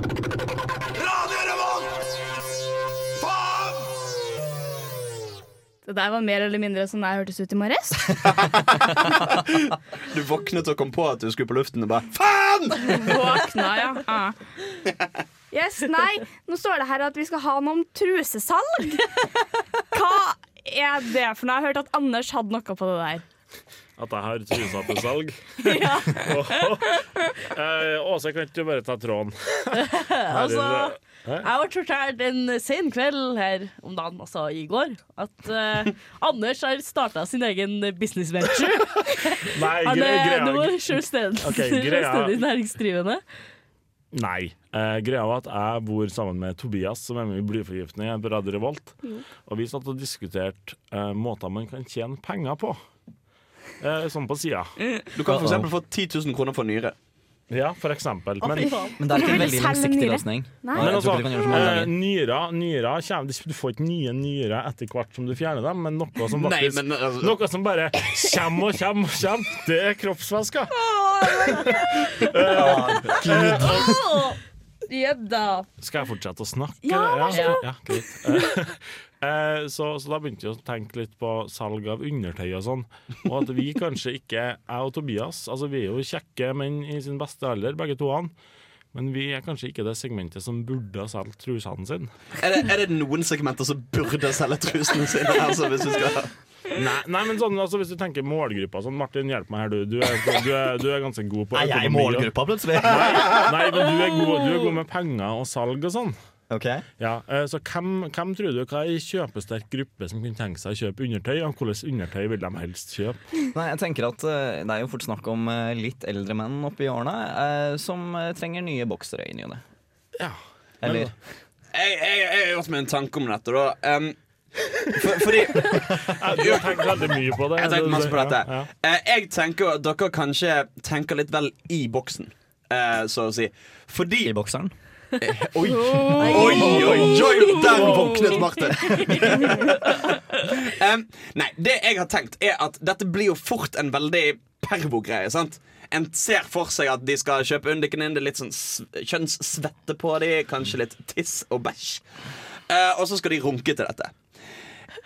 Speaker 2: Det der var mer eller mindre sånn jeg hørtes ut i morges.
Speaker 5: Du våknet og kom på at du skulle på luften og bare Faen!
Speaker 2: Våkna, ja. Ah. Yes, nei, nå står det her at vi skal ha noe om trusesalg. Hva er det for noe? Jeg har hørt at Anders hadde noe på det der.
Speaker 4: At jeg har trusa på salg. Eh, Åse, kan ikke du bare ta tråden?
Speaker 3: Altså,
Speaker 4: Hæ?
Speaker 3: jeg ble fortalt en sen kveld her om dagen, altså i går, at eh, Anders har starta sin egen business venture.
Speaker 4: Nei,
Speaker 3: Han
Speaker 4: gre
Speaker 3: er
Speaker 4: greia
Speaker 3: nå selvstendig
Speaker 4: Ok, greia-
Speaker 3: selvstendig næringsdrivende.
Speaker 4: Nei. Eh, greia var at jeg bor sammen med Tobias, som er med i Blyforgiftning her på Radio Revolt.
Speaker 5: Mm.
Speaker 4: Og vi satt og diskuterte eh, måter man kan tjene penger på. Eh, sånn på sida.
Speaker 5: Du kan for eksempel få 10 000 kroner for nyre.
Speaker 4: Ja, for eksempel.
Speaker 5: Å,
Speaker 4: Men,
Speaker 5: fy faen. Men det er ikke en veldig Selge langsiktig nyre? løsning. Nei.
Speaker 4: Men
Speaker 5: Jeg tror
Speaker 4: altså,
Speaker 5: ikke du kan gjøre så mange
Speaker 4: eh,
Speaker 5: ganger.
Speaker 4: nyra, nyra kommer, Du får ikke nye nyrer etter hvert som du fjerner dem, men noe som
Speaker 5: Nei,
Speaker 4: faktisk
Speaker 5: men, altså-
Speaker 4: Noe som bare kommer og kommer og kommer. Det er kroppsvæsker.
Speaker 2: Jepp da.
Speaker 4: Skal jeg fortsette å snakke?
Speaker 2: Ja,
Speaker 4: eller?
Speaker 2: vær så god.
Speaker 4: Ja, greit. Eh, eh, så, så da begynte jeg å tenke litt på salg av undertøy og sånn. Og at vi kanskje ikke, jeg og Tobias, altså vi er jo kjekke menn i sin beste alder, begge to han. Men vi er kanskje ikke det segmentet som burde ha solgt trusene sine.
Speaker 5: Er det, er det noen segmenter som burde selge trusene sine? Altså, hvis vi skal
Speaker 4: Nei, nei, men sånn, altså, hvis du tenker målgruppa sånn, Martin, hjelp meg her, du. Du er, du er, du er ganske god på
Speaker 6: Er jeg i
Speaker 4: økonomi, og-
Speaker 6: målgruppa plutselig?
Speaker 4: Nei, nei, men du er, god, du er god med penger og salg og sånn. Ja, eh, så hvem, hvem tror du hva er en kjøpesterk gruppe som kunne tenke seg å kjøpe undertøy, og hvilket undertøy vil de helst kjøpe?
Speaker 6: Nei, jeg tenker at eh, Det er jo fort snakk om eh, litt eldre menn oppi årene eh, som eh, trenger nye boksere i ny og ne. Eller
Speaker 5: jeg, jeg, jeg har gjort meg en tanke om dette, da. Um, for, fordi
Speaker 4: Jeg har tenkt veldig mye på det.
Speaker 5: Jeg har tenkt masse på
Speaker 4: Ja,
Speaker 5: dette.
Speaker 4: ja.
Speaker 5: Eh, Jeg tenker at dere kanskje tenker litt vel i boksen, eh, så å si. Fordi I
Speaker 6: bokseren?
Speaker 5: Eh, Oi, oi, oi, oi! Der våknet Martin. Em, nei, det jeg har tenkt, er at dette blir jo fort en veldig pervo-greie. sant? En ser for seg at de skal kjøpe undiken inn. Det er litt sånn s- kjønnssvette på dem, kanskje litt tiss og bæsj. Eh, og så skal de runke til dette.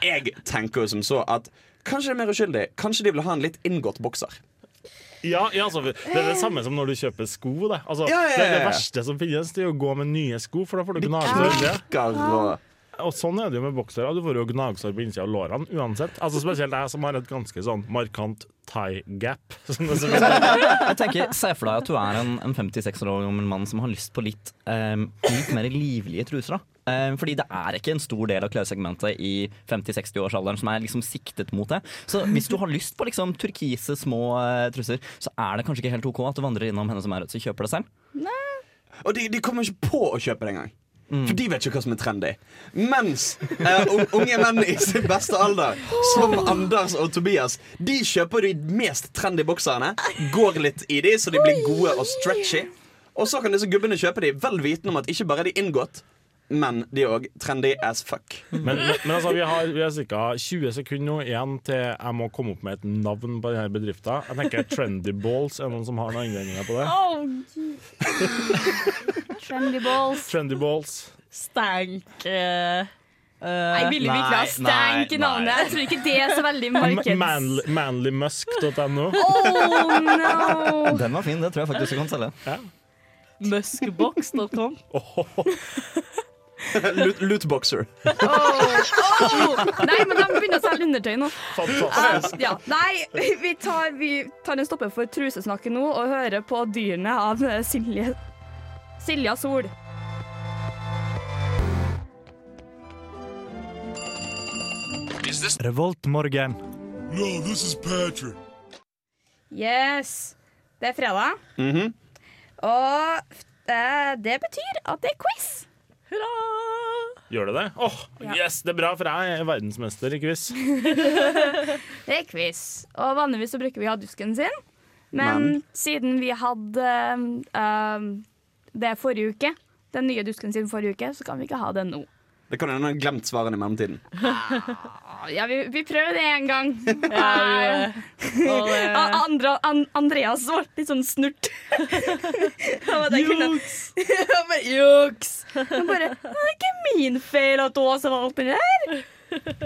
Speaker 5: Jeg tenker jo som så at kanskje det er mer uskyldig. Kanskje de vil ha en litt inngått bokser.
Speaker 4: Ja, ja altså, Det er det samme som når du kjøper sko. Det. Altså,
Speaker 5: Ja, ja, ja,
Speaker 4: det, er det
Speaker 5: ja.
Speaker 4: verste som finnes, det er å gå med nye sko, for da får du
Speaker 5: knaker og-
Speaker 4: gnagsår. Og sånn er det jo med boksere. Du får jo gnagsår på innsida av lårene uansett. Altså Spesielt jeg som har et ganske sånn markant tie gap. Som det så fint heter.
Speaker 6: Jeg tenker, Se for deg at du er en, en 56 år gammel mann som har lyst på litt, em, litt mer livlige truser. da. Em, fordi det er ikke en stor del av klessegmentet i 50-60-årsalderen som er liksom siktet mot det. Så hvis du har lyst på liksom turkise, små eh, truser, så er det kanskje ikke helt OK at du vandrer innom henne som er rødt, så kjøper det selv.
Speaker 5: Og de, de kommer ikke på å kjøpe det engang. For de vet ikke hva som er trendy. Mens eh, un- unge menn i sin beste alder, som Anders og Tobias, de kjøper de mest trendy bokserne, går litt i de så de blir gode og stretchy. Og så kan disse gubbene kjøpe de vel vitende om at ikke bare er de inngått, men de er òg trendy as fuck.
Speaker 4: Men, men, men altså, vi har, vi har ca. 20 sekunder nå igjen til jeg må komme opp med et navn på denne bedriften. Jeg tenker Trendy Balls. Er det noen som har noen innvendinger på det?
Speaker 2: Trendy balls.
Speaker 4: Trendy Balls.
Speaker 3: Stank eh, eh,
Speaker 2: Jeg ville virkelig ha stank i navnet. Jeg tror ikke det er så veldig markeds...
Speaker 4: Manly, manlymusk.no.
Speaker 2: Oh no!
Speaker 6: Den var fin, det tror jeg faktisk du kan selge.
Speaker 3: Muskbox.com.
Speaker 5: Loot, lootboxer.
Speaker 2: Oh. Nei, men de begynner å selge undertøy nå.
Speaker 5: Fantastisk.
Speaker 2: Eh, ja. Nei, vi tar, vi tar en stopper for trusesnakket nå og hører på dyrene av eh, Silje Silja Sol.
Speaker 1: Revoltmorgen.
Speaker 13: No, this is Patrick.
Speaker 2: Yes. Det er fredag,
Speaker 4: Mhm.
Speaker 2: og eh, det betyr at det er quiz. Hurra!
Speaker 4: Gjør det det? Åh, yes, Det er bra, for jeg er verdensmester i quiz.
Speaker 2: det er quiz. Og vanligvis så bruker vi haddusken sin, men,
Speaker 4: Men?
Speaker 2: siden vi hadde eh, det forrige uke, den nye dusken sin forrige uke, så kan vi ikke ha den nå.
Speaker 5: Det kan hende han har glemt svarene i mellomtiden.
Speaker 2: Ja, vi, vi prøver det en gang.
Speaker 5: Ja,
Speaker 2: Nei.
Speaker 3: eh,
Speaker 2: A- Andra, an, Andreas ble litt sånn snurt. Juks! Han bare juks. Han bare Det er ikke min feil at Åse var oppi der.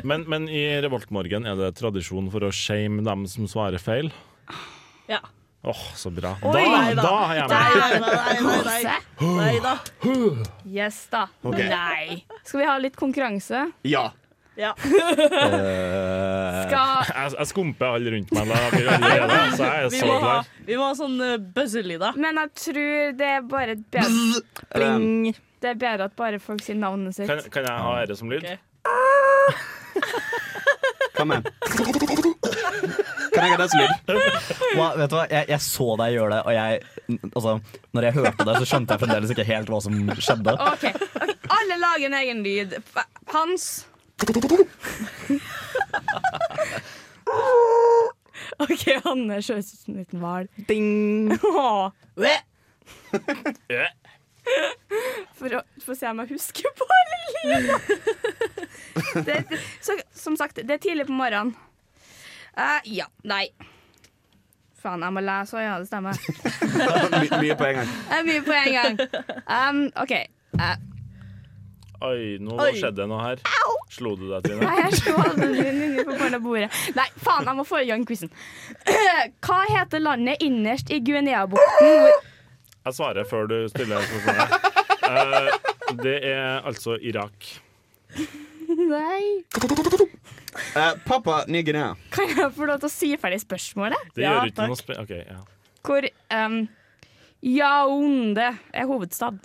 Speaker 4: Men, men i Revoltmorgen er det tradisjon for å shame dem som svarer feil.
Speaker 3: Ja.
Speaker 4: Åh, så bra.
Speaker 3: Oi,
Speaker 4: da,
Speaker 3: nei da.
Speaker 4: da har jeg
Speaker 3: Nei, nei,
Speaker 4: med!
Speaker 3: nei, nei, nei. Nei da.
Speaker 2: Yes da.
Speaker 4: Ok.
Speaker 2: Nei. Skal vi ha litt konkurranse?
Speaker 5: Ja.
Speaker 2: Ja. Skal-
Speaker 4: Jeg, jeg skumper alle rundt meg, da, vi allerede, så jeg er
Speaker 3: Vi
Speaker 4: så
Speaker 3: må ha,
Speaker 4: klar.
Speaker 3: vi må ha sånn eh, buzzer-lyder.
Speaker 2: Men jeg tror det er bare et bedre
Speaker 5: Eh,
Speaker 4: Bling.
Speaker 2: Det er bedre at bare folk sier navnet sitt.
Speaker 4: Kan, kan jeg ha dette som lyd?
Speaker 5: Kan jeg ha det som lyd?
Speaker 6: Hva, vet du hva? Jeg, jeg så deg gjøre det, og jeg altså, Når jeg hørte det, så skjønte jeg fremdeles ikke helt hva som skjedde.
Speaker 2: OK. ok. Alle lager en egen lyd. Hans. OK, Hanne høres ut som en liten hval. Ding! For å for å se om jeg husker på alle lydene. Det- det- så- Som sagt, det er tidlig på morgenen. Eh, ja. Nei. Faen, jeg må lese òg, ja. Det stemmer.
Speaker 5: My, mye på en gang.
Speaker 2: Det er mye på en gang. Um, OK. Eh,
Speaker 4: Oi, nå
Speaker 2: Oi.
Speaker 4: skjedde det noe her. Slo du deg, Trine?
Speaker 2: Nei, jeg slo alderen min inni på barna bordet. Nei, faen, jeg må få i gang quizen. Hva heter landet innerst i Guinea-bukten? hvor-
Speaker 4: Jeg svarer før du stiller spørsmålet. Eh, det er altså Irak.
Speaker 2: Nei.
Speaker 5: Eh, Pappa Ny-Guinea.
Speaker 2: Kan jeg få lov til å si ferdig spørsmålet?
Speaker 4: Det gjør ikke noe spe... OK, ja.
Speaker 2: Hvor um, Yaounde er hovedstad.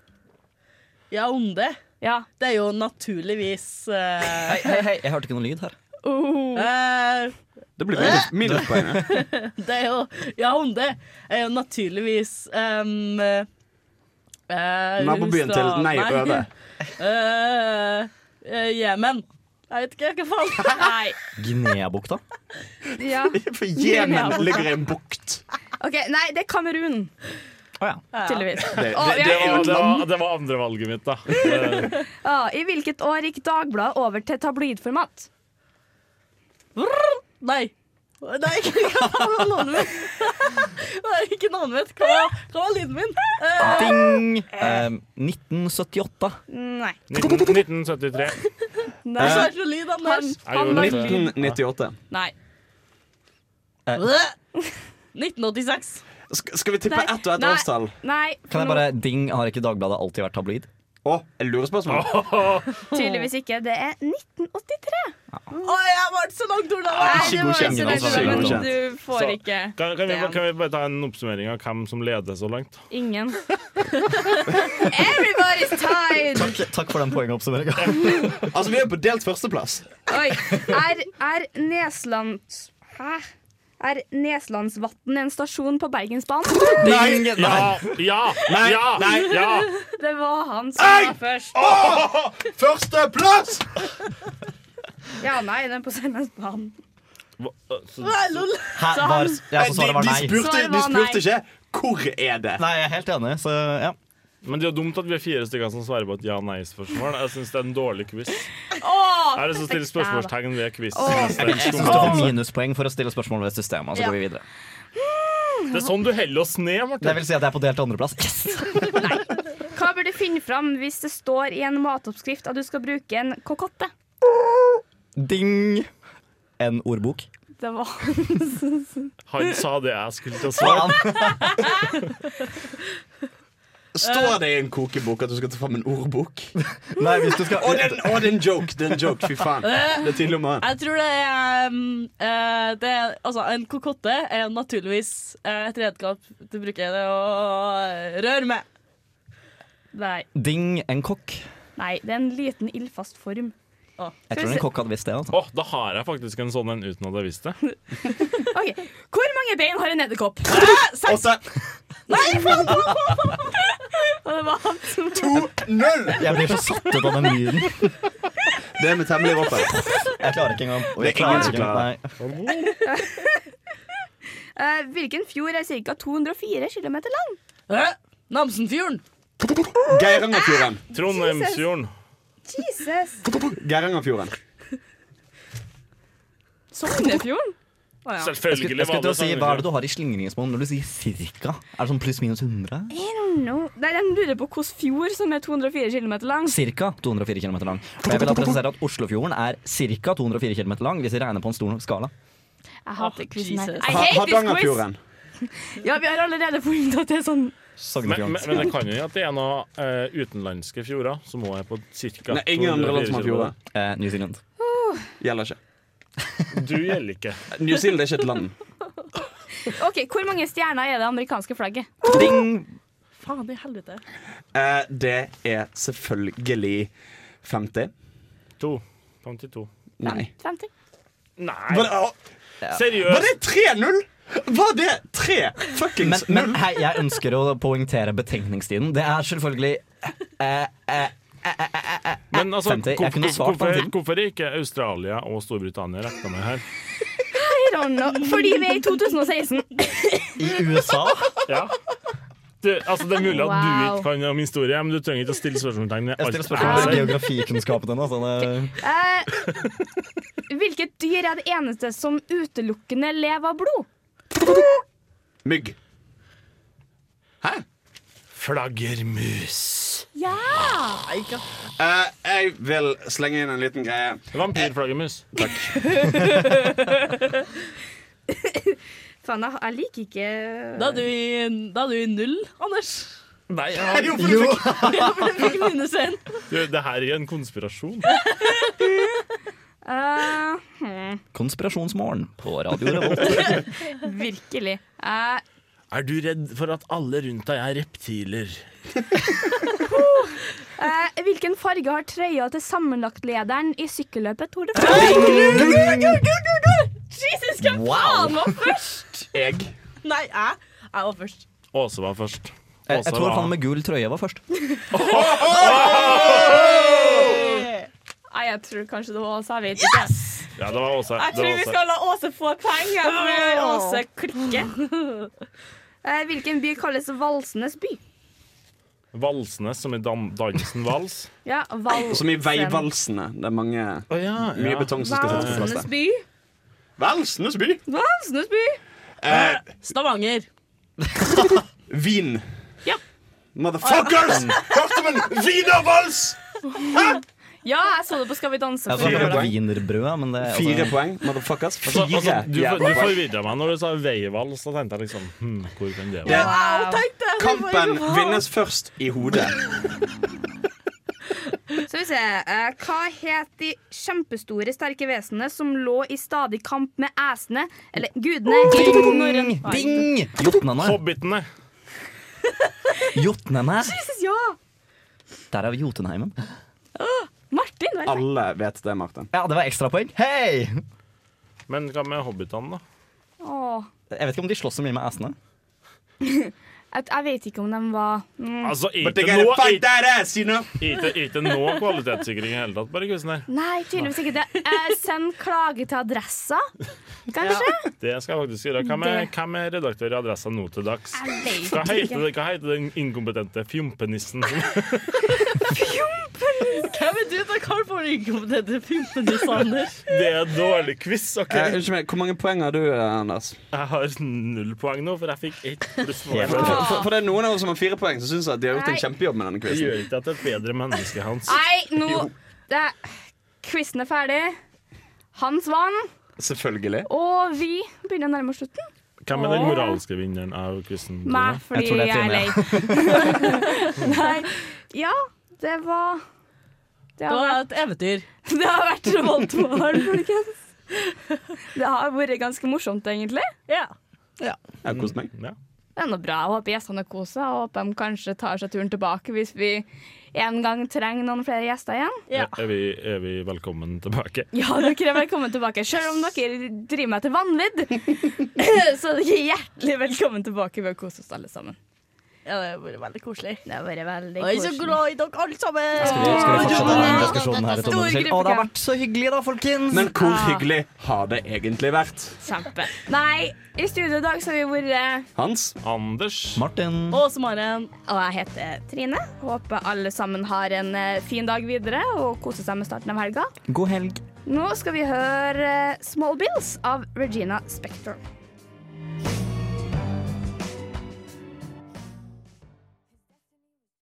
Speaker 3: Yaounde?
Speaker 2: Ja.
Speaker 3: Det er jo naturligvis eh,
Speaker 6: Hei, hei, hei, jeg hørte ikke noen lyd her.
Speaker 5: Det blir minus- minuspoeng. ja.
Speaker 3: eh, Det er jo Yaounde er jo naturligvis um, eh,
Speaker 5: Nabobyen til
Speaker 3: Russland-
Speaker 5: Nei Øve.
Speaker 3: Eh, eh, Jemen. Jeg vet ikke, hva faen. Nei.
Speaker 6: Guinea-bukta?
Speaker 2: Ja.
Speaker 5: For Jemen ligger i en bukt.
Speaker 2: OK, nei, det er Kamerun.
Speaker 6: Å ja.
Speaker 2: Tydeligvis.
Speaker 4: Det, det,
Speaker 2: Å, vi
Speaker 4: det,
Speaker 2: er
Speaker 4: var,
Speaker 2: fint
Speaker 4: det,
Speaker 2: land.
Speaker 4: var, det var andrevalget mitt, da. Eh,
Speaker 2: Ja, I hvilket år gikk Dagbladet over til tabloidformat?
Speaker 3: Nei. Nei, ikke hva faen var navnet mitt? Nei, Ikke navnet mitt. Hva, hva var lyden min? Eh,
Speaker 6: Ding! Eh, 1978.
Speaker 2: Nei.
Speaker 4: 1973.
Speaker 3: Nei. Så er det så lyd, Anders.
Speaker 2: Han- han var-
Speaker 5: 1998.
Speaker 3: Nei.
Speaker 6: Eh.
Speaker 3: 1986.
Speaker 5: Sk- skal vi tippe
Speaker 3: Nei.
Speaker 5: ett og ett
Speaker 3: Nei.
Speaker 5: årstall?
Speaker 2: Nei.
Speaker 6: Kan jeg bare Ding, har ikke Dagbladet alltid vært tabloid?
Speaker 5: Å, jeg lurer spørsmål.
Speaker 2: Tydeligvis ikke. Det er 1983.
Speaker 3: Å, jeg ble så langt unna!
Speaker 2: Nei, det var ikke
Speaker 4: godkjent.
Speaker 2: så veldig bra,
Speaker 4: Ingen ansvar.
Speaker 2: men du får
Speaker 4: Så,
Speaker 2: ikke
Speaker 4: Kan, kan, vi,
Speaker 2: den.
Speaker 4: kan vi bare ta en oppsummering av hvem som leder så langt?
Speaker 2: Ingen. Everybody's tied!
Speaker 6: Takk, takk for den poengoppsummeringa.
Speaker 5: altså, vi er på delt førsteplass.
Speaker 2: Oi. Er, er Nesland Hæ? Er Neslandsvatn en stasjon på Bergensbanen?
Speaker 4: Nei, ja, ja,
Speaker 5: Nei,
Speaker 4: ja,
Speaker 5: nei.
Speaker 4: ja.
Speaker 2: Det var han som var først.
Speaker 5: Åh, Førsteplass!
Speaker 2: Ja, nei, den er på Sørlandsbanen.
Speaker 4: Nei,
Speaker 2: lol.
Speaker 6: Hæ,
Speaker 2: Så
Speaker 6: var,
Speaker 2: han-
Speaker 6: ja, så svaret var
Speaker 5: de, de,
Speaker 6: nei.
Speaker 5: spurte,
Speaker 2: Svaret
Speaker 5: de
Speaker 2: var nei.
Speaker 5: spurte ikke 'hvor er det'?
Speaker 6: Nei, jeg er helt enig, så ja.
Speaker 4: Men det er jo dumt at vi er fire stykker som svarer på et ja-nei-spørsmål. Jeg syns det er en dårlig quiz.
Speaker 2: Åh,
Speaker 4: Er det som stiller spørsmålstegn ved quiz?
Speaker 6: Jeg, jeg synes du får minuspoeng for å stille spørsmål ved systemet. Så
Speaker 2: Ja.
Speaker 6: går vi videre.
Speaker 4: Det er sånn du heller oss ned, Martin.
Speaker 6: Det vil si at jeg er på delt andreplass. Yes!
Speaker 2: Hva bør du finne fram hvis det står i en matoppskrift at du skal bruke en kokotte?
Speaker 6: Ding! En ordbok.
Speaker 2: Det var
Speaker 4: Han sa det jeg skulle til å svare.
Speaker 5: Står det i en kokebok at du skal ta fram en ordbok?
Speaker 6: Nei, hvis du skal
Speaker 5: Å, det er en- å, det er en joke! Det er en joke, Fy faen. Det er til og med
Speaker 3: Jeg tror det er, um, eh, det er Altså, en kokotte er naturligvis eh, et redskap du bruker det å eh, røre med.
Speaker 2: Nei.
Speaker 6: Ding! En kokk.
Speaker 2: Nei, det er en liten ildfast form.
Speaker 6: Jeg tror en kokk hadde visst det. altså.
Speaker 4: Åh, da har jeg faktisk en sånn en uten at jeg visste det.
Speaker 2: Ok, Hvor mange bein har en edderkopp?
Speaker 5: Åtte.
Speaker 2: Nei, faen! Og det var han som
Speaker 5: Null!
Speaker 6: Jeg blir så satt ut av den lyden.
Speaker 5: Det er med temmelig altså. råpen.
Speaker 6: Jeg klarer ikke engang.
Speaker 5: Det er ingen som klarer
Speaker 6: det.
Speaker 2: Eh, Hvilken fjord er ca. 204 km lang?
Speaker 3: Namsenfjorden.
Speaker 5: Geirangerfjorden.
Speaker 4: Trondheimsfjorden.
Speaker 2: Jesus!
Speaker 5: Geirangerfjorden.
Speaker 2: Sognefjorden? Å ja.
Speaker 6: Jeg skulle, jeg
Speaker 4: Selvfølgelig
Speaker 6: skulle
Speaker 4: var
Speaker 6: til å
Speaker 4: det sånn.
Speaker 6: si, Hva er det du har i slingringsmonn når du sier cirka? Er det sånn pluss minus 100?
Speaker 2: I don't know. Nei, De lurer på hvilken fjord som er 204 km lang.
Speaker 6: Cirka 204 km lang. Og jeg vil da presisere at Oslofjorden er cirka 2204 km lang, hvis vi regner på en stor nok skala.
Speaker 2: Jeg hater quizen her.
Speaker 3: Jesus.
Speaker 2: I
Speaker 5: Ha-
Speaker 2: hate this quiz!
Speaker 5: Hardangerfjorden.
Speaker 2: Ja, vi har allerede funnet at det er sånn
Speaker 4: Men, men, men det kan jo hende at det er noen eh, utenlandske fjorder som òg er på ca.
Speaker 5: Nei, ingen andre land som har fjorder.
Speaker 6: Eh, New Zealand.
Speaker 5: Gjelder ikke.
Speaker 4: Du gjelder ikke.
Speaker 5: New Zealand er ikke et land.
Speaker 2: Ok, Hvor mange stjerner er det amerikanske flagget?
Speaker 6: Ding!
Speaker 3: Faen i helvete.
Speaker 5: Eh, Det er selvfølgelig 50.
Speaker 4: To. 52.
Speaker 5: Nei.
Speaker 2: 50?
Speaker 4: Nei.
Speaker 5: Var det, å, var
Speaker 4: Seriøst.
Speaker 5: det 3-0? Var det 3
Speaker 6: Men,
Speaker 5: fuckings
Speaker 6: men
Speaker 5: 0?
Speaker 6: hei, jeg ønsker å poengtere betenkningstiden. Det er selvfølgelig eh, eh,
Speaker 4: Men altså,
Speaker 6: 50. Jeg
Speaker 4: hvorfor-
Speaker 6: kunne svart på den
Speaker 4: hvorfor,
Speaker 6: tiden.
Speaker 4: hvorfor er ikke Australia og Storbritannia rekna med her?
Speaker 2: I don't know. Fordi vi er i 2016.
Speaker 6: I USA?
Speaker 4: Ja. Du, altså, det er mulig at du
Speaker 2: Wow.
Speaker 4: ikke kan om historie, men du trenger ikke å stille spørsmålstegn ved
Speaker 6: Jeg
Speaker 4: alt
Speaker 6: stiller
Speaker 4: jeg
Speaker 6: spørsmål ved
Speaker 4: sier.
Speaker 6: geografikunnskapen hennes. Sånn, eh,
Speaker 2: Eh, hvilket dyr er det eneste som utelukkende lever av blod?
Speaker 5: Mygg.
Speaker 4: Flaggermus.
Speaker 2: Ja!
Speaker 5: Eh, jeg vil slenge inn en liten greie.
Speaker 4: Vampyrflaggermus.
Speaker 2: Faen, jeg, jeg liker ikke
Speaker 3: Da er du i, da er du i null, Anders.
Speaker 4: Nei, ja.
Speaker 3: Ja, for du fikk minus én.
Speaker 4: du, det her er jo en konspirasjon.
Speaker 2: Eh, hmm,
Speaker 6: Konspirasjonsmorgen på Radio Revolt.
Speaker 2: Virkelig. Eh,
Speaker 4: Er du redd for at alle rundt deg er reptiler?
Speaker 2: eh, hvilken farge har trøya til sammenlagtlederen i sykkelløpet Tour de
Speaker 3: Jesus, hvem
Speaker 6: Wow.
Speaker 3: faen var først?
Speaker 5: Jeg.
Speaker 3: Nei, jeg. Jeg var først.
Speaker 4: Åse var først.
Speaker 6: Jeg, jeg
Speaker 4: Åse
Speaker 6: tror
Speaker 4: var-
Speaker 6: han med gul trøye var først.
Speaker 2: Nei, jeg tror kanskje det var Åse. Jeg vet ikke.
Speaker 4: Ja, det var Åse.
Speaker 2: Jeg
Speaker 4: Det
Speaker 2: tror
Speaker 4: var
Speaker 2: vi
Speaker 4: Åse.
Speaker 2: skal la Åse få poeng. Jeg tror Åse klikker. Eh, hvilken by kalles Valsenes by?
Speaker 4: Valsnes, som i dam dansen vals.
Speaker 2: Ja, Valsen.
Speaker 5: Som i Veivalsene. Det er mange
Speaker 4: Å ja,
Speaker 5: mye
Speaker 4: ja.
Speaker 5: betong som skal settes på plass
Speaker 2: Valsenes
Speaker 5: der.
Speaker 2: by.
Speaker 5: Valsenes by.
Speaker 2: Valsenes by.
Speaker 5: Eh,
Speaker 3: Stavanger.
Speaker 5: Wien.
Speaker 2: Ja.
Speaker 5: Motherfuckers! Hørte man wienervals?
Speaker 2: Ja, jeg så det på Skal vi danse.
Speaker 6: Jeg
Speaker 2: for-
Speaker 5: Fire
Speaker 6: tror det var
Speaker 5: poeng.
Speaker 6: wienerbrød, men det altså-
Speaker 5: Fire poeng, motherfuckers.
Speaker 4: Altså,
Speaker 5: Fire
Speaker 4: altså, du
Speaker 5: jævla
Speaker 4: du
Speaker 5: poeng.
Speaker 4: forvirra meg når du sa veivals. Da tenkte jeg liksom hm, Hvor kan det
Speaker 5: Det,
Speaker 4: være?
Speaker 5: kampen vinnes først i hodet.
Speaker 2: Skal vi se. eh, hva het de kjempestore, sterke vesenene som lå i stadig kamp med æsene, eller gudene, i norrøn
Speaker 6: Ding! Jotnene.
Speaker 4: Hobbitene.
Speaker 6: Jotnene.
Speaker 2: Jesus, ja!
Speaker 6: Der er vi Jotunheimen.
Speaker 2: Martin, vel?
Speaker 5: Alle vet det, Martin.
Speaker 6: Ja, det var ekstrapoeng. Hei!
Speaker 4: Men hva med hobbitene, da?
Speaker 2: Å,
Speaker 6: Jeg vet ikke om de slåss så mye med assene.
Speaker 2: Jeg, jeg vet ikke om de var mm.
Speaker 4: Altså,
Speaker 6: But
Speaker 4: ikke
Speaker 6: they gotta
Speaker 4: noe-
Speaker 6: fight that
Speaker 5: ass, you know?
Speaker 4: Ikke ikke noe kvalitetssikring i hele tatt på den quizen her.
Speaker 2: Nei, tydeligvis ikke. Det. Eh, send klage til adressa, kanskje?
Speaker 4: Det skal jeg faktisk gjøre. Hvem er,
Speaker 2: Det-
Speaker 4: hvem er redaktør i Adressa nå til dags?
Speaker 2: Jeg vet
Speaker 4: Hva heter,
Speaker 2: ikke.
Speaker 4: det- hva heter den inkompetente fjompenissen? som-
Speaker 3: Hvem er du til Carl for inkompetente pimpene, Sander?
Speaker 4: Det er dårlig quiz, OK?
Speaker 5: Eh, Unnskyld meg, Hvor mange poeng har du, eh, Anders?
Speaker 4: Jeg har null poeng nå, for jeg fikk ett pluss
Speaker 5: For, for, for det er noen av oss som har fire poeng, som syns at de har gjort en
Speaker 2: Nei.
Speaker 5: kjempejobb med denne
Speaker 4: Det gjør
Speaker 5: quizen.
Speaker 4: ikke at det er et bedre menneske, Hans.
Speaker 2: Nei, nå
Speaker 5: Jo.
Speaker 2: det, Quizen er ferdig. Hans vant,
Speaker 5: Selvfølgelig.
Speaker 2: og vi begynner å nærme oss slutten.
Speaker 4: Hvem er den moralske vinneren av quizen?
Speaker 2: Meg, fordi jeg, er lei. Nei. Ja, det var
Speaker 3: Det var et eventyr.
Speaker 2: Det har vært revoltmorgen, folkens. Det har vært ganske morsomt, egentlig.
Speaker 3: Ja.
Speaker 5: Jeg har kost meg.
Speaker 2: Mm. Det er noe bra. Jeg håper gjestene har kost seg, og håper de kanskje tar seg turen tilbake hvis vi en gang trenger noen flere gjester igjen.
Speaker 4: Er, vi, er vi velkommen tilbake?
Speaker 2: Ja, dere er velkommen tilbake. Selv om dere driver meg til vanvidd, så er dere hjertelig velkommen tilbake. Vi har kost oss alle sammen.
Speaker 3: Ja, det har vært veldig koselig.
Speaker 2: Det har vært veldig
Speaker 3: Jeg er så
Speaker 2: koselig.
Speaker 3: glad i dere alle sammen!
Speaker 6: Skal vi, skal vi fortsette den
Speaker 3: Ja.
Speaker 6: diskusjonen her et
Speaker 3: Stor
Speaker 6: område til?
Speaker 3: gruppe
Speaker 6: Å, det har
Speaker 3: kan.
Speaker 6: vært så hyggelig, da, folkens!
Speaker 5: Men hvor
Speaker 2: Ah.
Speaker 5: hyggelig har det egentlig vært?
Speaker 2: Kjempe. Nei, i studio i dag så har vi vært
Speaker 5: Hans?
Speaker 4: Anders?
Speaker 6: Martin?
Speaker 2: Åse Maren. Og jeg heter Trine. Håper alle sammen har en eh, fin dag videre og koser seg med starten av helga.
Speaker 6: God helg.
Speaker 2: Nå skal vi høre eh, Small Bills av Regina Spector.